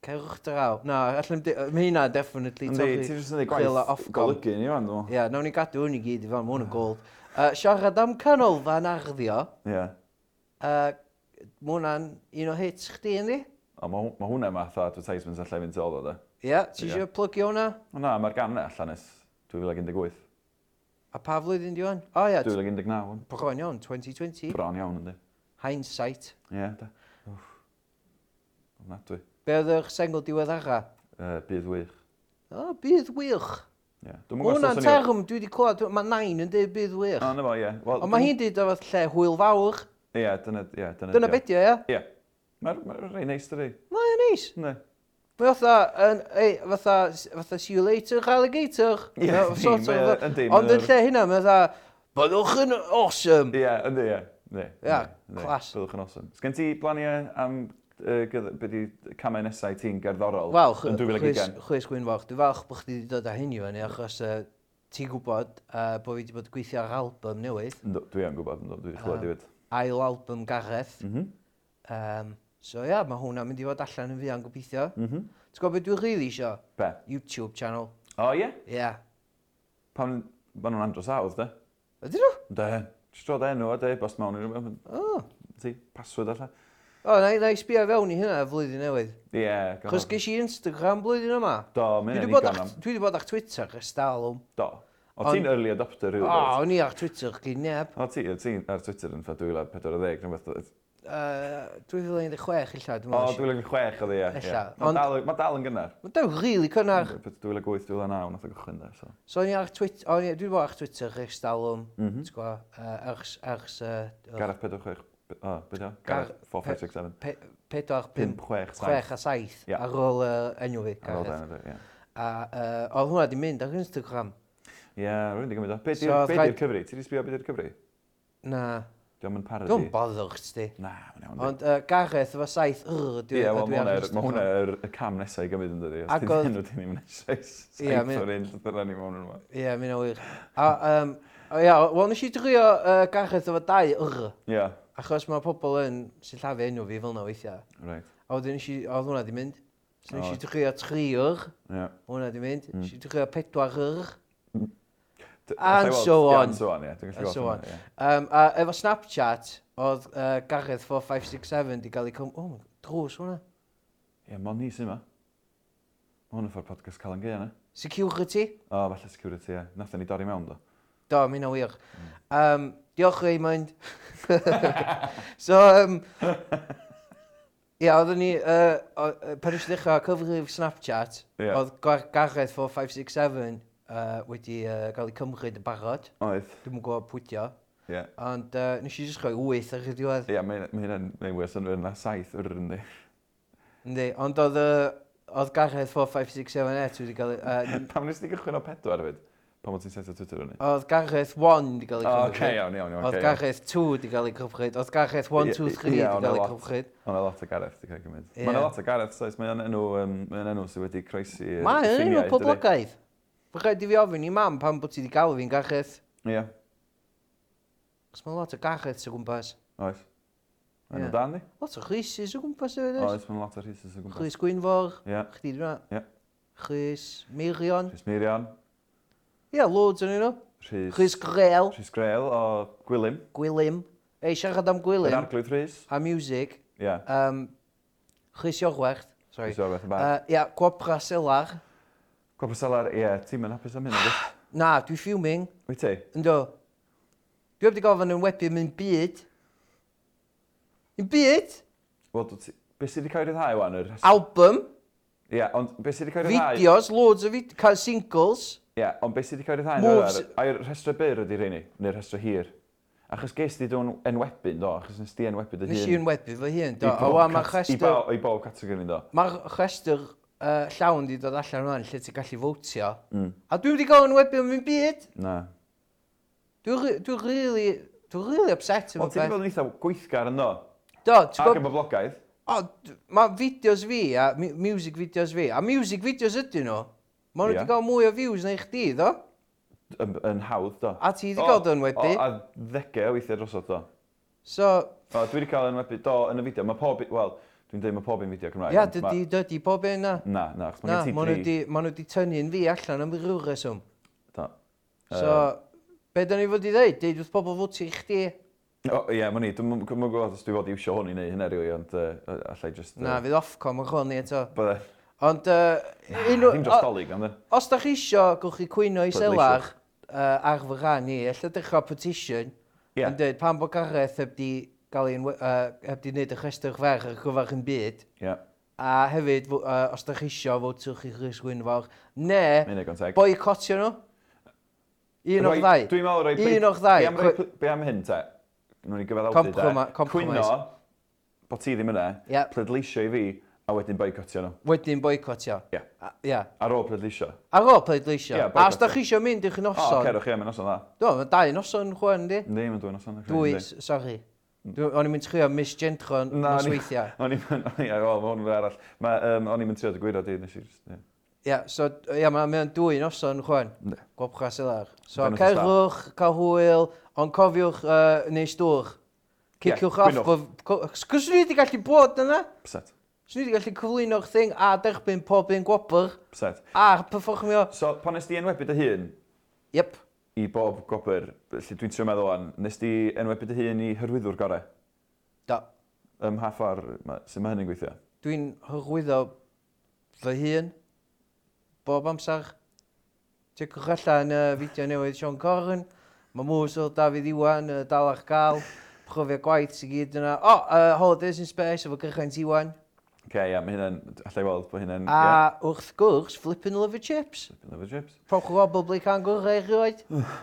Cerwch draw. Na, allan, mae hynna definitely
Yndi, ti jyst yn ei
chwil a
gwaith
Ofcom.
golygu ni fan, dwi'n
Ie, yeah, nawn ni gadw hwn i gyd i fan, mae hwn yn gold. Uh, siarad am canolfan arddio,
Ie.
uh, mae hwnna'n un o hits chdi yndi?
O, mae hw- mae hwnna math o advertisements allai fynd ôl o da.
Ie, yeah, ti
Ie.
eisiau plygio hwnna?
O na, mae'r gan allan nes 2018.
A pa flwyddyn di hwn? O ie, t-
2019, yn.
bron iawn, 2020.
bron iawn yndi.
Hindsight.
Ie, da. Na, dwi.
Be oedd yr sengl diweddara?
Yy, Bydd wych.
O, bydd wych.
Ie. Dwi'n
Ma' Hwnna'n term dwi wedi clywed, dwi- mae nain yn dweud bydd
O,
wych.
na fo, ie. Wel,
Ond mae
dwi'm-
hi'n dweud o fath lle hwyl fawr.
Ie, dyna, ie, dyna. di
Dyna
o.
beth ie, ie?
Ie. Mae'r mae rei neis dydi.
Mae o'n neis.
Ne.
Mae fatha, yn- ei, fatha, fatha see you later alligator.
Ie,
Mae o
yndi,
sort of
mae o-
fatha-
yndi, mae
Ond yn
o'r-
lle hynna, mae fatha, byddwch yn awesome.
Ie, yndi, ie. Ne.
Ie,
ne, ne.
class.
Byddwch yn awesome. Sgen ti blaniau am yy, gyda- be di camau nesau ti'n gerddorol
Wel,
yn 2020?
chwys gwynfawr, dwi'n falch bod chdi wedi dod â hyn i fyny, achos yy, ti'n gwybod uh, bod fi wedi bod yn gweithio ar album newydd,
Yndw, Dwi yn gwybod, yndw, dwi wedi chlywed i fyd.
ail album Gareth.
Mhm.
Um, so ia, mae hwnna'n mynd i fod allan yn fuan gobeithio.
Mhm.
Ti'n gwybod beth dwi'n rili isio?
Be?
YouTube channel.
O ie?
Ia. Yeah.
Pan maen nhw'n andros awdd, de?
Ydyn nhw?
De. Jyst roed enw a de, bost mewn i rhywbeth.
O,
Ti, password alla.
o na, na i sbio fewn i hynna y flwyddyn newydd.
Ie,
Chos
gorfod.
ges i Instagram blwyddyn yma.
Do,
Dwi
mae'n
wedi
ei
bod
gan
ar,
am.
dwi 'di bod ar Twitter ers dal o'n...
Do. O ti'n early adopter
O,
rhywbeth?
o'n i ar Twitter gyd neb.
O ti, o ti ar Twitter yn ffa 2014 rhywbeth.
uh, 2016 illa, dwi'n
O,
meddwl.
2006 oedd e, ie, ie.
Ella,
Mae
ond-
dal- ma dal yn gynnar.
Mae'n dewch rili cynnar.
2008, 2009, nath o gychwyn da, so.
So o'n i ar Twitter, o'n i, dwi'n bod ar Twitter eich stalwm,
Mhm.
ti'n gwybod, ers, ers uh,
Gareth 456, o, beth o?
Gar-
Gareth 4567.
4, 5,
5, 6,
6 a 7
Ie.
ar ôl uh, enw fi,
7. Ar ôl
Gareth.
dan, ie.
A uh, oedd hwnna di mynd ar Instagram.
Ie, rwy'n di gymryd o. Be
So,
di'r- be
rhaid-
di'r cyfri? Ti di sbio be di'r cyfri?
Na,
Diolch yn parodi.
dwi'n boddwch ti.
Na, mae'n iawn.
Ond uh, Gareth efo 7 yr
Ie,
dwi
wel,
dwi
ma'
ar
hwnna er- ma' hwnna
Instagram.
er y cam nesaf i gymryd yn dydi. Os
Ac
ti'n
oedd-
enw, ti'n ddim yn nesaf.
Ie,
Saith
mi-
o'r un dyna ni mewn yma.
Ie, mi'n awyr. A, um, o ia, wel nes i drio uh, Gareth efo 2 yr,
Ie,
achos mae pobl yn sy'n llafu enw fi fel na weithiau.
reit.
A wedyn nes i, oedd hwnna di mynd. So nes
O. Hmm.
i drio 3 yr,
Ie.
hwnna di mynd. Nes i drio 4 yr.
D-
And
allai weld-
so
ie,
on.
And so on, ie. Dwi'n
And
gallu
so
gweld hwnna, ie.
Um, a efo Snapchat, oedd uh, Gareth 4567 di gael ei cym... O, oh, drws hwnna.
Ie, mon ni sy'n yma. Mae hwn yn ffordd podcast cael yn gei yna.
Security?
O, falle security, ie. Nathon ni dorri mewn, do.
Do, mi'n o wir. Um, diolch Raymond. so, um, Ia, oeddwn ni, uh, pan eisiau dechrau cyfrif Snapchat,
Ie.
oedd Gar- Gareth 4567 uh, wedi uh, gael ei cymryd yn barod.
Oedd.
Dwi'n gwybod pwydio.
Ie.
Ond uh, nes i jyst rhoi 8 ar y diwedd.
Ie, mae mae hynna'n neud wers yn fyr na saith yr yndi.
Yndi, ond oedd y... Oedd Gareth 4567 et wedi cael... ei-
Pam nes ti gychwyn o pedwar hefyd? Pam o ti'n set o Twitter hynny?
yy, Oedd Gareth 1 wedi cael ei
O, oce,
cymryd.
iawn, iawn, iawn.
Oedd
oce, iawn.
Gareth 2 wedi cael ei cymryd. Oedd Gareth 1,
Ie,
2,
ie,
3 wedi
iawn, a
cael ei
lot.
cymryd.
Ond y lot o Gareth di cael gymryd.
Ie.
Yeah. Mae'n lot o Gareth, soes. Mae'n enw, um, mae'n enw sydd wedi croesi i'r
Mae yn
ffiniau,
enw
dydi?
poblogaidd. Fy rhaid i fi ofyn i mam pan bod ti wedi gael fi'n Gareth.
Ie,
Cos mae lot o Gareth o gwmpas.
oes. Enw
Ie.
dan ni?
Lot o chrysus o gwmpas hefyd oes.
Oes, mae'n lot o rhysys o gwmpas.
Chrys Gwynfor.
Ie.
Chdi di hwnna.
Ie.
Chrys Meirion.
Rhys Meirion,
Ie, loads yn nhw.
Rhys...
Chrys Greel.
Rhys Greel o Gwilym.
Gwilym. Ei, siarad am
Yn
Gwilym.
arglwydd Rhys.
A music.
Ie.
Um, Chris Iorwerth. Sorry.
Rhys o'r beth yn bach.
Uh, ia, gwopra selar.
Gwobr Salar, ie, ti'n mynd hapus am hyn, ydych?
Na, dwi fuming.
Wyt ti?
Ynddo. Dwi wedi gofyn yn webu mewn byd. Yn byd?
Wel, dw ti- be sydd wedi cael ei ryddhau wan? yr rhes-
Album.
Ie, ond be sydd wedi cael ei ryddhau?
Fideos, loads o fid- ca- singles.
Ie, ond beth sydd wedi cael ei rhaid
Moves-
ar a'r rhestra byr ydy rheini, neu'r rhestra hir. Achos ges di dwi'n enwebyn, do, achos nes di enwebu dy hun.
Nes i yn webu fy hun. Do.
I
A
bob
wa, mae'r
cat- I bob,
chester...
i bob categori, do.
Mae'r chester uh, llawn di dod allan rwan lle ti'n gallu fowtio.
Mm.
A dwi wedi gofyn yn webu mewn byd.
Na.
Dwi'n ri- dwi really... Dwi'n really upset
Ond
yn
ti wedi
beth.
bod yn eitha gweithgar yn do,
Do,
ac
ti'n gwybod
yn boblogaeth.
O, d- mae fideos fi a mu- music videos fi, a music videos ydyn nhw. Mae nhw
Ie.
wedi cael mwy o views na i chdi, ddo.
Yn, yn hawdd, do.
A ti wedi
O,
cael dy enwebu.
O, a ddegau o weithiau drosodd, do.
So,
O, dwi wedi cael enwebu, do, yn y fideo. Mae pob, i- wel, dwi'n dweud mae pob yn fideo Cymraeg.
ia,
ond ma-
dydi, dydi pob un na.
Na, na, achos
Na,
mae
ma' nhw
gen ti dri.
wedi ma' nhw 'di tynnu'n fi allan am ryw reswm.
Do.
So, be da ni fod i ddeud? Deud wrth pobl fod i chdi.
O, Ie, mae ni, dwi'n mwyn gwybod os dwi fod i iwsio hwn i neu hynny rili, ond yy, allai just...
Na, fydd Ofcom yn chwni eto.
Bydde,
Ond, yy, un o-
Dim dros dolyg am ddyn.
os da chi isio, gwch chi cwyno i
Pleidleisio.
selar uh, ar fy rhan i, allai dechrau petition
Ie.
yn dweud pan bod Gareth heb di gael ein, uh, heb di wneud y chester fer ar gyfer yn byd,
Ie,
a hefyd, uh, os da chi isio, fotwch chi Chris Gwynfor, ne,
mae'n ei gonteg.
boicotio nhw. Un o'r ddau.
Dwi'n meddwl roi...
Un o'r ddau.
Be am roi pl- Be am hyn te? Nw'n i gyfedd awdur te.
Comproma- compromise.
Cwyno, bod ti ddim yna,
Ie.
pleidleisio i fi, a wedyn boicotio nhw.
Wedyn boicotio.
Ie.
A- Ie.
Ar ôl pleidleisio.
Ar ôl pleidleisio.
Ie,
a os da
boicotio.
chi isio mynd i'ch
O,
noson,
cerwch ie, mae'n noson dda.
do, mae dau noson chwan di.
Yndi, mae'n dwi'n noson.
Dwy, s- sorry. Dwi- O'n i'n mynd trio misgendro
Na,
nos
ni-
weithiau.
O'n i'n mynd, ie, wel, mae hwn yn arall. Ma- yym, O'n i'n mynd trio dy gwirio di, nes i... jyst, ie.
Ia, so, ia, mae o'n dwy noson chwan.
Yndi.
Gwobcha selar. So,
Dyna sy'n
cerwch, cael hwyl, ond cofiwch uh, neu stwr. Ciciwch
Ie,
off. Cos ni wedi gallu bod yna?
Pset.
Cos ni wedi gallu cyflwyno'ch thing a derbyn pob un gwobr
Pset.
a performio.
So, pan nes di enwebu dy hun,
Yep.
i bob gobr, felly dwi'n trio meddwl o'n, nes di enwebu dy hun i hyrwyddwr gorau?
Do.
ym half ar, ma, sut mae hynny'n gweithio?
Dwi'n hyrwyddo fy hun bob amser. Tecwch allan y fideo newydd Sean Corrin. Mae mwys o Dafydd Iwan y dal ar gael. Chofio gwaith sy'n gyd yna. O, uh, Holidays in Space efo gychwyn T1.
Oce, ia, mae hynna'n... Alla i weld bod hynna'n...
A
Mm, ie,
wrth gwrs, flippin' love chips.
Love chips.
Probably can gwrdd e erioed.
Mm.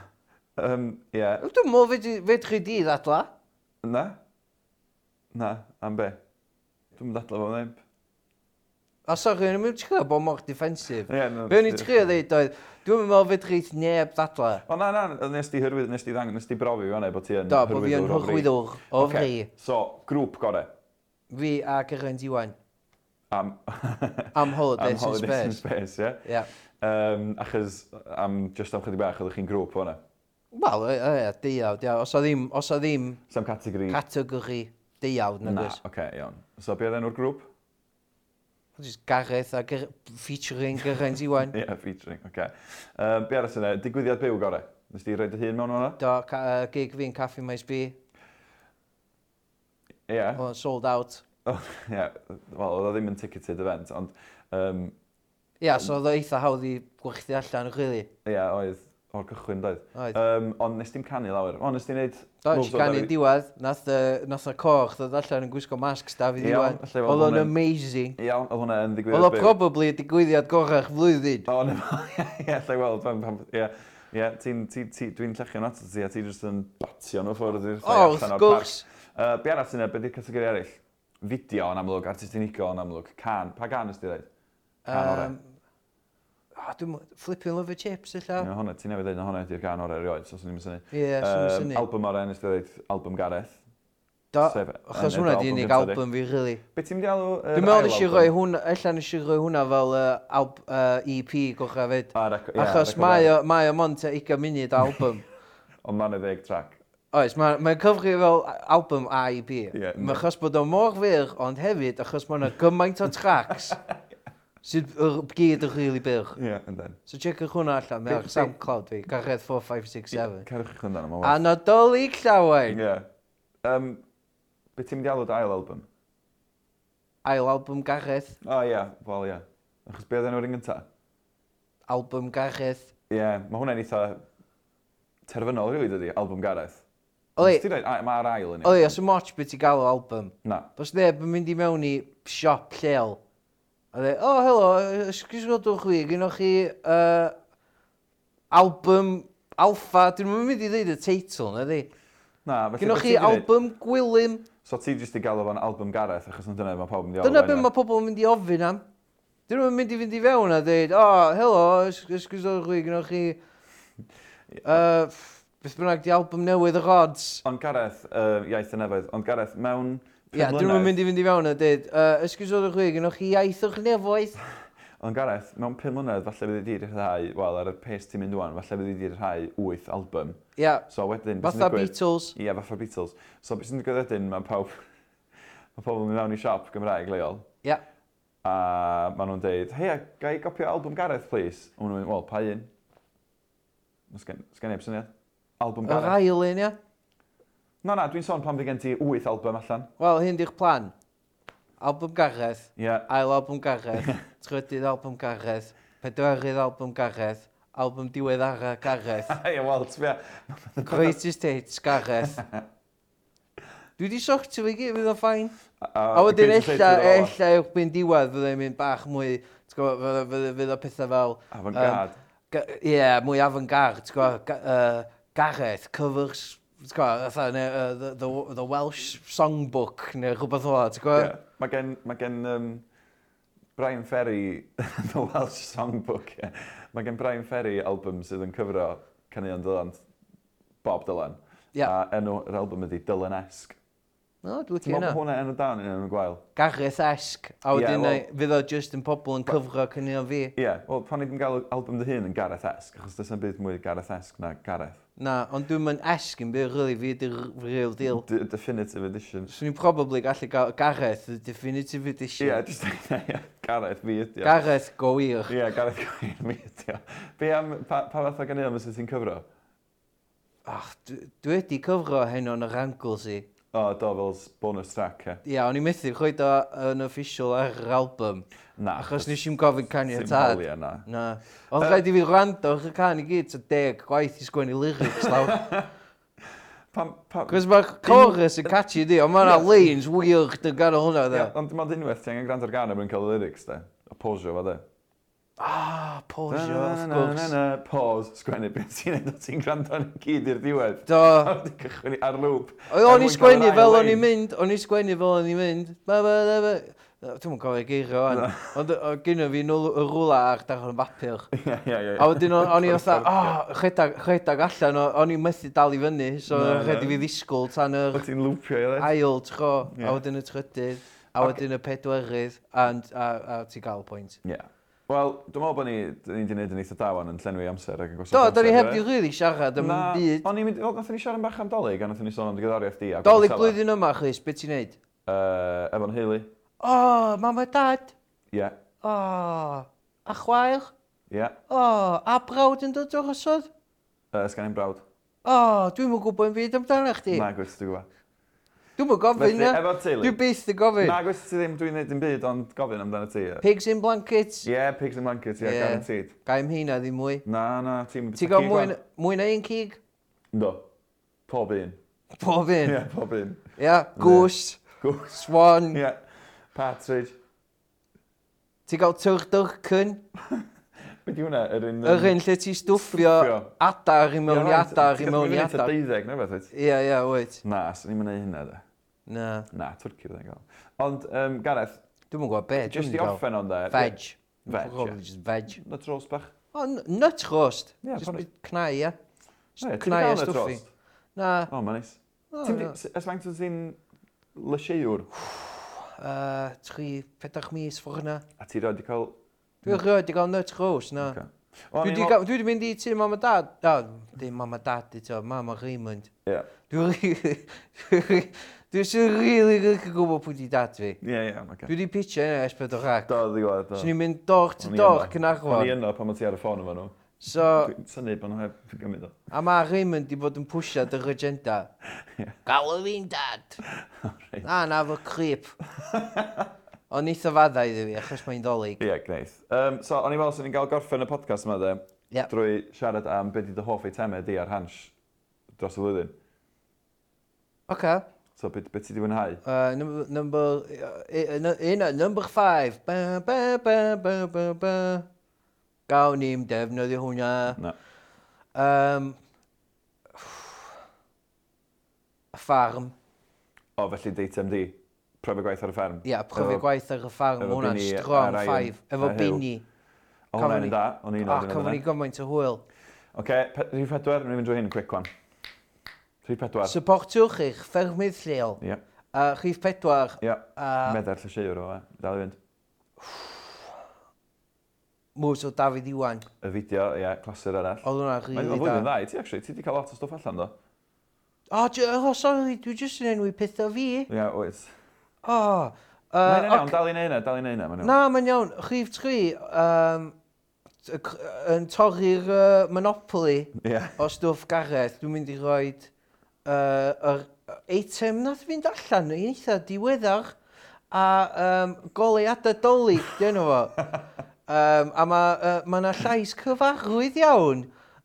Um, ie,
Dwi'n mwyn fe di- fedri di ddadla.
na? Na, am be? Dwi'n mynd adlo fo'n neb.
A sori, yn mynd trio bod mor defensif.
Ie, na,
Fe o'n i'n
dwi'n-
trio ddeud oedd, dwi'n meddwl fedri neb ddadla.
O na, na, nes di hyrwydd, nes di ddang, nes di brofi fan e bod ti yn
Do, bod fi yn
hyrwyddwr o fri.
hyrwyddwr o
Ocê,
fri.
So, grŵp gore.
Fi a Geraint Iwan.
Am,
Am
am
Holidays in
Holidays in
Space.
Space, ie.
Ie.
Um, achos, am just am chydig bach, oeddech chi'n grŵp o'na.
Wel, e- e, deuawd, ia. Os o ddim, os o ddim
Sam categori.
categori deuawd, nag
Hmm. na,
oes.
oce, okay, iawn. So, beth enw'r grŵp?
Just Gareth a Ger featuring Geraint Iwan.
Ie, yeah, featuring, oce. Okay. Um, be arall yna, digwyddiad byw gore. Nes di roi dy hun mewn o'na?
Do, ca- yy, gig fi'n Caffi Maes B.
Ie. Yeah.
Oedd o'n sold out.
Ie, yeah. wel, oedd o ddim yn ticketed event, ond, um,
Ia, so oedd o eitha hawdd i gwerthu allan, really.
ie, yeah, oedd o'r cychwyn, doedd.
Oedd.
Um, ond nes di'n canu lawer. Ond nes di'n neud...
Do,
moves
si gan i'n
over-
diwedd, nath y, nath y coch ddod allan yn gwisgo masks da fi
Iawn,
diwedd.
allai fod
Oedd o'n
hwnna'n-
amazing.
Iawn, oedd hwnna yn digwydd
Oedd o probably y digwyddiad gorach flwyddyn.
O, na fo, ie, lle weld, pan, pan, ie. Ie, ti'n- ti- ti- dwi'n llechio'n ato ti, a ti jyst yn batio nhw ffwrdd i'r
O, wrth gwrs.
Uh, be arall yna, beth yw'r categori eraill? Fideo yn amlwg, artist unigol yn amlwg, can, pa gan ysdi dweud? Can ore.
Yym, o, dwi'n mwyn- flipping love chips
Um,
illa.
hwnna, ti'n nefyd dweud na hwnna ydy'r gan ore erioed, so swn i'n syni.
Ie, swn i'n syni.
album ore yn ysdi dweud, album Gareth.
Do,
sef-
achos
yn y
hwnna
album
di unig
gynta di.
album fi, really.
Be ti'n mynd i alw? yr
Dwi'n meddwl
ail
nes i
album?
roi hwnna, illa nes i roi hwnna fel yy, alb- yy, E EP gorach fyd.
A reco- ie,
Achos
record
mae
album.
o mae o mont a 20 munud album.
Ond ma'n y ddeg track.
Oes, mae'n mae cyfri fel album A i B.
Ie,
Mae achos bod o mor fyr, ond hefyd achos mae yna gymaint o tracks sydd yr gyd yn rili byr.
Ie, yn den.
So checkwch hwnna allan, mae ar
Be- be-
SoundCloud fi, Gareth 4567.
Cerwch chi'n dan, ma'n
A nadolig llawen,
Ie. Um, be ti'n mynd i alw dy ail album?
ail album Gareth,
O ie, wel ie. Achos be oedd enw'r un gynta?
album Gareth.
Ie, mae hwnna'n eitha terfynol rili dydi, album Gareth.
Oli,
Nes ti dweud, mae'r ail yn i?
oli, os y moch beth i gael o album,
Na.
Does neb yn mynd i mewn i siop lleol. A dweud, o, oh, helo, ysgysgodwch fi, gynnwch chi uh, album alfa, dwi'n mynd i ddeud y teitl, na di.
Na, felly... be
Gynnwch chi
ti 'di neud?
album gwylym,
So ti jyst i galw fo'n album Gareth, achos yn dyna mae pawb yn mynd i alw
dyna beth
fo'n
mae pobl yn mynd i ofyn am. Dyn nhw'n mynd i fynd i fewn a dweud, o, oh, helo, ysgysgodwch fi, gynnwch chi... Uh, beth bynnag di album newydd y rods.
Ond Gareth, uh, iaith y nefoedd, ond Gareth, mewn... pum
Ia, dyn nhw'n
mlynedd-
mynd i fynd i fewn a dweud, uh, ysgysgodwch fi, gynnwch chi iaith o'ch nefoedd.
Ond Gareth, mewn pum mlynedd, falle bydd i di rhai, wel, ar y pace ti'n mynd wan, falle bydd i di rhai wyth album.
Ia,
So wedyn, beth sy'n
fatha
digwydd-
Beatles.
Ie, fatha Beatles. So beth sy'n digwydd wedyn, mae pawb... mae pobl yn mynd mewn i siop Gymraeg leol.
Ia.
A maen nhw'n deud, hei, ga i gopio album Gareth, please? A maen nhw'n mynd, wel, pa un? Ma' Sgen sgen i heb syniad. Album
Yr
Gareth.
ail un, ia?
Na, na, dwi'n sôn pan fi gen ti wyth album allan.
Wel, hyn di'ch plan. Album Gareth,
Ie, yeah.
ail album Gareth, trydydd album Gareth, pedwerydd album Gareth, album diweddara Gareth,
Ie, wel, ti fe.
greatest hits Gareth. Dwi di sortio fi gyd, fydd o'n ffain. A
A
wedyn ella, ella erbyn diwedd fyddai'n mynd bach mwy, ti'n gwbod, fydd- fydd- fydd o pethau fel,
A fan gad.
ga- ie, mwy avant-garde, ti'n gwbod, ga- yy, Gareth, covers, ti'n gwbod, fatha, neu, yy, the, the, the Welsh Songbook, neu rhywbeth o, ti'n gwbod?
Ie. Mae gen, mae gen um, Brian Ferry, The Welsh Songbook, ie. Mae gen Brian Ferry album sydd yn cyfro caneuon Dylan, Bob Dylan.
Ie.
A enw yr album ydi Dylan-esg.
No, dwi'n
Ti'n meddwl
licio
bod
hynna.
hwnna enw dan yn enw gwael?
Gareth-esg. A
Ie,
wedyn
wel-
yeah, fydd o just yn pobl yn cyfro cynnig fi.
Ie, yeah, wel, pan i ddim gael album dy hun yn Gareth-esg, achos dyna byd mwy Gareth-esg na Gareth.
Na, ond dwi'n mynd esg yn byr, really, fi ydy'r real deal.
D definitive edition.
Swn i'n probably gallu gael Gareth, the definitive
Ie,
edition.
yeah, just yeah, Gareth fi ydi. o.
Gareth go wir.
Ie, yeah, Gareth Gwyn mi ydi. o. Be am, pa, pa fath o ganeuon fysa ti'n cyfro?
Ach, dwi dwi wedi cyfro hyn o'n yr angl si.
O, do, fel s- bonus track, ie.
Ia, o'n i'n methu chweud o yn official ar yr album.
Na,
Achos nes i'n gofyn
Sim
caniatad.
holi yna.
Na. Ond rhaid i fi rando ar y can i gyd, so deg gwaith i sgwennu lyrics lawr.
Pam, pam...
Cos mae chorus yn catchy di, ond mae'na lanes weird yn gan o hwnna
Ie,
dda.
Ond dim ond unwaith, ti angen gwrando ar gan a mae'n cael y lyrics, da. A posio fo, da.
Ah, pause
Na,
of
na, na,
gwrs.
na, Pause, sgwennu, beth ti'n neud o ti'n gwrando yn gyd i'r diwedd.
Do,
A wedi cychwyn i- ar lŵp.
O-
Er
O'n i
mwyn
sgwennu
cael yr
fel
ail
o'n i'n
lein.
mynd, o'n i sgwennu fel o'n i'n mynd. Ba, ba, ba, ba. Na, Dwi'm yn cofio geirio o'n.
Na.
Ond o- gynno fi nôl y rwla ar darn y bapur.
Ie, ie, ie.
A wedyn o- o'n i
Corffordd,
fatha, ah, chedag chedag allan, o- o'n i methu dal i fyny. So
Na,
rhaid i
na.
fi ddisgwyl tan
Wyt
yr
ti'n lwpio i ddweud?
ail tro,
Ie.
a wedyn y trydydd, a
Ac-
wedyn y pedwerydd, and- a a ti gael pwynt.
Ie. Wel, dwi'n meddwl bod ni wedi wneud yn eitha dawan yn llenwi amser ac yn gosod
Do, da ni heb
ie?
di rili siarad am
Na,
byd.
O'n i'n mynd, wel, nathon ni siarad yn bach am dolyg, a nathon ni sôn am digwyddoriaeth di. a gwaith
Dolyg
Sela.
blwyddyn yma, Chris, beth ti'n neud?
Yy, Efo'n heili.
O, mam a dad,
Ie,
o, a chwaer,
ie.
O, a brawd yn dod o'r osod?
Yy, Sgan i'n brawd.
O, dwi'm yn gwybod yn byd amdano chdi.
Na, gwrs, dwi'n gwybod.
Dwi'm yn gofyn
Felly,
na.
efo'r teulu.
Dwi byth yn gofyn.
Na, gwrs, ti ddim dwi'n neud dim byd, ond gofyn amdano ti. ie.
Pigs in blankets.
Ie, pigs and blankets, ie,
Ie.
guaranteed.
Gaim heina ddim mwy.
Na, na, ti'n mynd...
Ti'n gael mwy, na- mwy na un cig?
Do. Pob un.
Pob un.
Ie, pob un.
Ia, gwrs,
Gwrs.
swan.
Ie. Partridge.
Ti'n gael turdyrcyn.
Beth yw hwnna? Yr un...
Yr un lle ti stwffio
Stwffio.
adar i mewn i adar i mewn i
Ti'n
adar.
mynd deuddeg, neu beth, wyt?
Ia, ia, wyt.
Na, swn i'n mynd i hynna, da.
Na,
Na, twrci fydda'n gael. Ond, um, Gareth,
dwi'm yn gwybod beth. Dwi'n
just i
gael.
offen o'n da.
Veg.
Veg,
Probably just veg.
Na tros bach.
O, n- nut roast.
Ie,
Just
probably.
bit cnau, ia.
O, ie,
Just
ti'm 'di
Cnau a
cael nut
stwffi.
roast?
Na.
O, ma'n neis.
o,
Ti'n
na.
ysfaint o'n ti'n lysieiwr,
uh, tri, pedach mis ffwr hynna.
a ti roed i cael...
Dwi'n rhoi wedi cael nut roast na.
Hmm. Ocê. O'n i'n
Dwi wedi
me'wl-
gael- dwi wedi mynd i tu mam a dad. Da, dim mam a dad eto, mam a Raymond.
Ie.
Dwi'n rili, dwi'n sy'n rili rili gwybod pwy di dad fi.
Ie, ie, ma'n gael.
Dwi wedi pitio yna esbeth o rac.
Do, ddi gweld, do.
Swn i'n mynd door to
O'n i
door
yno. O'n i
Cynarfon.
yno pan mae ti ar y ffôn efo nhw.
So,
Dwi'n syni bod nhw heb gymryd o.
a mae Raymond di bod yn pwysio dy agenda. Gael o fi'n dad.
reit.
Na, na fo creep. Ond eitha faddau iddi fi, achos mae'n dolyg.
Ie, gneith. Um, so, o'n i'n meddwl sy'n ni'n gael gorffen y podcast yma, de,
Ie.
drwy siarad am beth i dy hoff eitemau di ar hans dros y flwyddyn.
Oce.
So, beth be ti di fwynhau?
Uh, number number uh, uh, number 5. Ba ba ba ba ba ba. Gawn ni'n defnyddio hwnna.
Na.
Um, y ffarm.
O, felly deitem di. Profi gwaith ar y fferm.
Ia, yeah, profi
Efo-
gwaith ar y ffarm.
efo
Hwna'n
bini a
strong
Ryan
5.
a
Efo
Huw.
bini.
O,
Cafon
hwnna'n
ni-
da. O'n i'n
A
oedden
cofyn
yna.
ni gymaint o hwyl.
Oce, pe- rhif pedwar, ni'n mynd drwy hyn yn quick one. Rhif pedwar.
Supportwch eich ffermydd lleol.
Ie,
A rhif pedwar.
ie.
A
Medar llysieuwr o fe. Dal i fynd.
mwys o Dafydd Iwan.
Y fideo, ie, clasur arall.
Oedd hwnna
Mae'n
rili
flwyddyn
da.
dda i ti, actually. Ti di cael lot o stwff allan, do?
O, j- o, sorry, dwi jyst yn enwi pethau fi.
Ie, wyt.
O,
Mae'n
uh,
iawn, dal i'n neud dal i'n neud hynna.
Na, mae'n iawn. Rhif 3, um, yn torri'r uh, Monopoly
Ie.
o stwff Gareth, dwi'n mynd i roi uh, yr eitem nath fynd allan yn eitha diweddar a um, goleuadau dolyg, dyn nhw fo. Um, a mae uh, ma 'na llais cyfarwydd iawn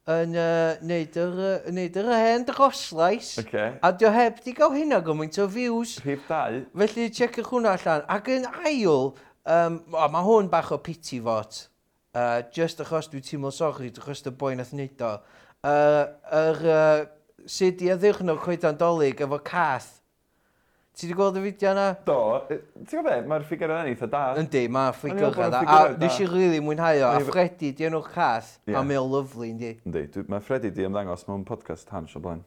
yn uh, neud, yr, uh, neud yr hen droslais.
Oce.
A dio heb di gael hynna gymaint o views.
Rhif dau.
Felly, checwch hwnna allan. Ac yn ail, um, o, mae hwn bach o pity fot. Uh, just achos dwi teimlo sori, achos y boi nath wneud o. Uh, yr, uh, sut i addurno coedan dolyg efo cath. Ti wedi gweld y fideo yna?
Do, yy, ti'n gwybod be, mae'r ffigur yna'n eitha da.
Yndi, mae
meddwl bod y
ffigurau dda. A
ffigurau dda.
nes i rili mwynhau o. A
Mae-
Freddy, di enw'r cath.
Ie.
A mae o lyflu, yndi.
Yndi, dwi- mae Freddy di ymddangos mewn podcast hans o blaen.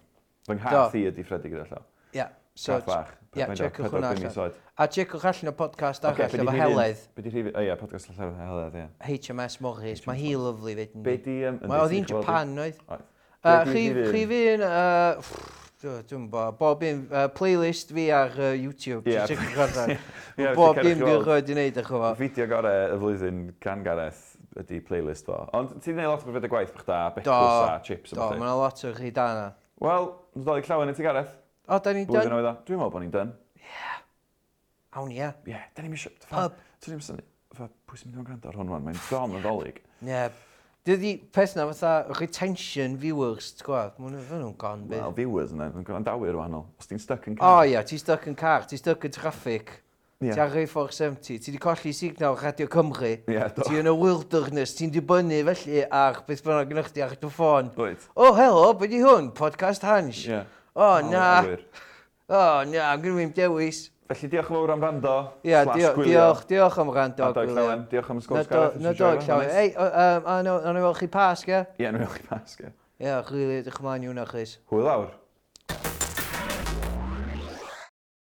Fy nghath i ydi Freddy gyda llaw.
Ia, so...
Cath fach.
Ie, checwch hwnna allan. A checwch allan y podcast arall efo Heledd.
Be di rhif... O ie, podcast allan efo Heledd, ie.
HMS Morris, mae hi lyflu fyd. yndi?
Be di... yym, yndi,
Mae oedd
ti'n
hi'n
gweld-
Japan, oedd?
Oedd.
Yy,
Be' 'di
Rhif
rhif un?
rhif un, yy, pff, dw- dwi'm yn gwbod, bob un, yy, playlist fi ar yy, YouTube.
Ie.
jyst checiwch allan.
Ie, ti'n
Bob
cerdded
dim
i
dwi'n
weld.
rhoi di wneud, eich
Y
efo.
fideo gorau y flwyddyn gan Gareth ydi playlist fo. Ond ti'n gwneud lot o beth y gwaith bych da,
Do,
becws a chips a
Do,
bethau.
mae'n lot o chi da na.
Wel, dwi'n dod i llawn i ti Gareth.
O, da ni'n
Blwyddyn
done.
oedd o. Dwi'n meddwl bod ni'n done.
Awn ia.
Ie, yeah, da ni'n mysio.
Pub.
Dwi'n ni'n syni. Fa, pwy sy'n mynd o'n gwrando ar hwn wan? Mae'n dom yn ddolig.
Ie. Dydy peth na fatha retention viewers, ti'n gwybod? Mae'n fan nhw'n gon bydd.
Wel, viewers yna, yn grandawyr wahanol. Os ti'n stuck yn
O oh, ia, ti stuck yn car, ti stuck yn traffic, ti ar ei 470, ti wedi colli signal Radio Cymru,
Ie, do.
ti yn y wilderness, ti'n dibynnu felly ar beth bynnag gynnwch chi ar dy ffôn.
Wyt.
O, oh, helo, beth i hwn? Podcast Hans.
Ie.
O,
Wel,
na,
awyr.
o, na, I'm going to dewis.
Felly diolch yn fawr am rando.
Ia,
slash
dio-
gwylio.
diolch, diolch am
A
rando.
Doeg Llawen, diolch am sgwrs Gareth, nes i
Nadog
joio,
llawen.
honest.
Ei, o, yym, a nhw- a nhw fel chi pas, ge?
Ie, nhw'n ewch i basgu.
Ia, chwili, ddech chi'n maen i hwnna, Chris.
Hwyl awr.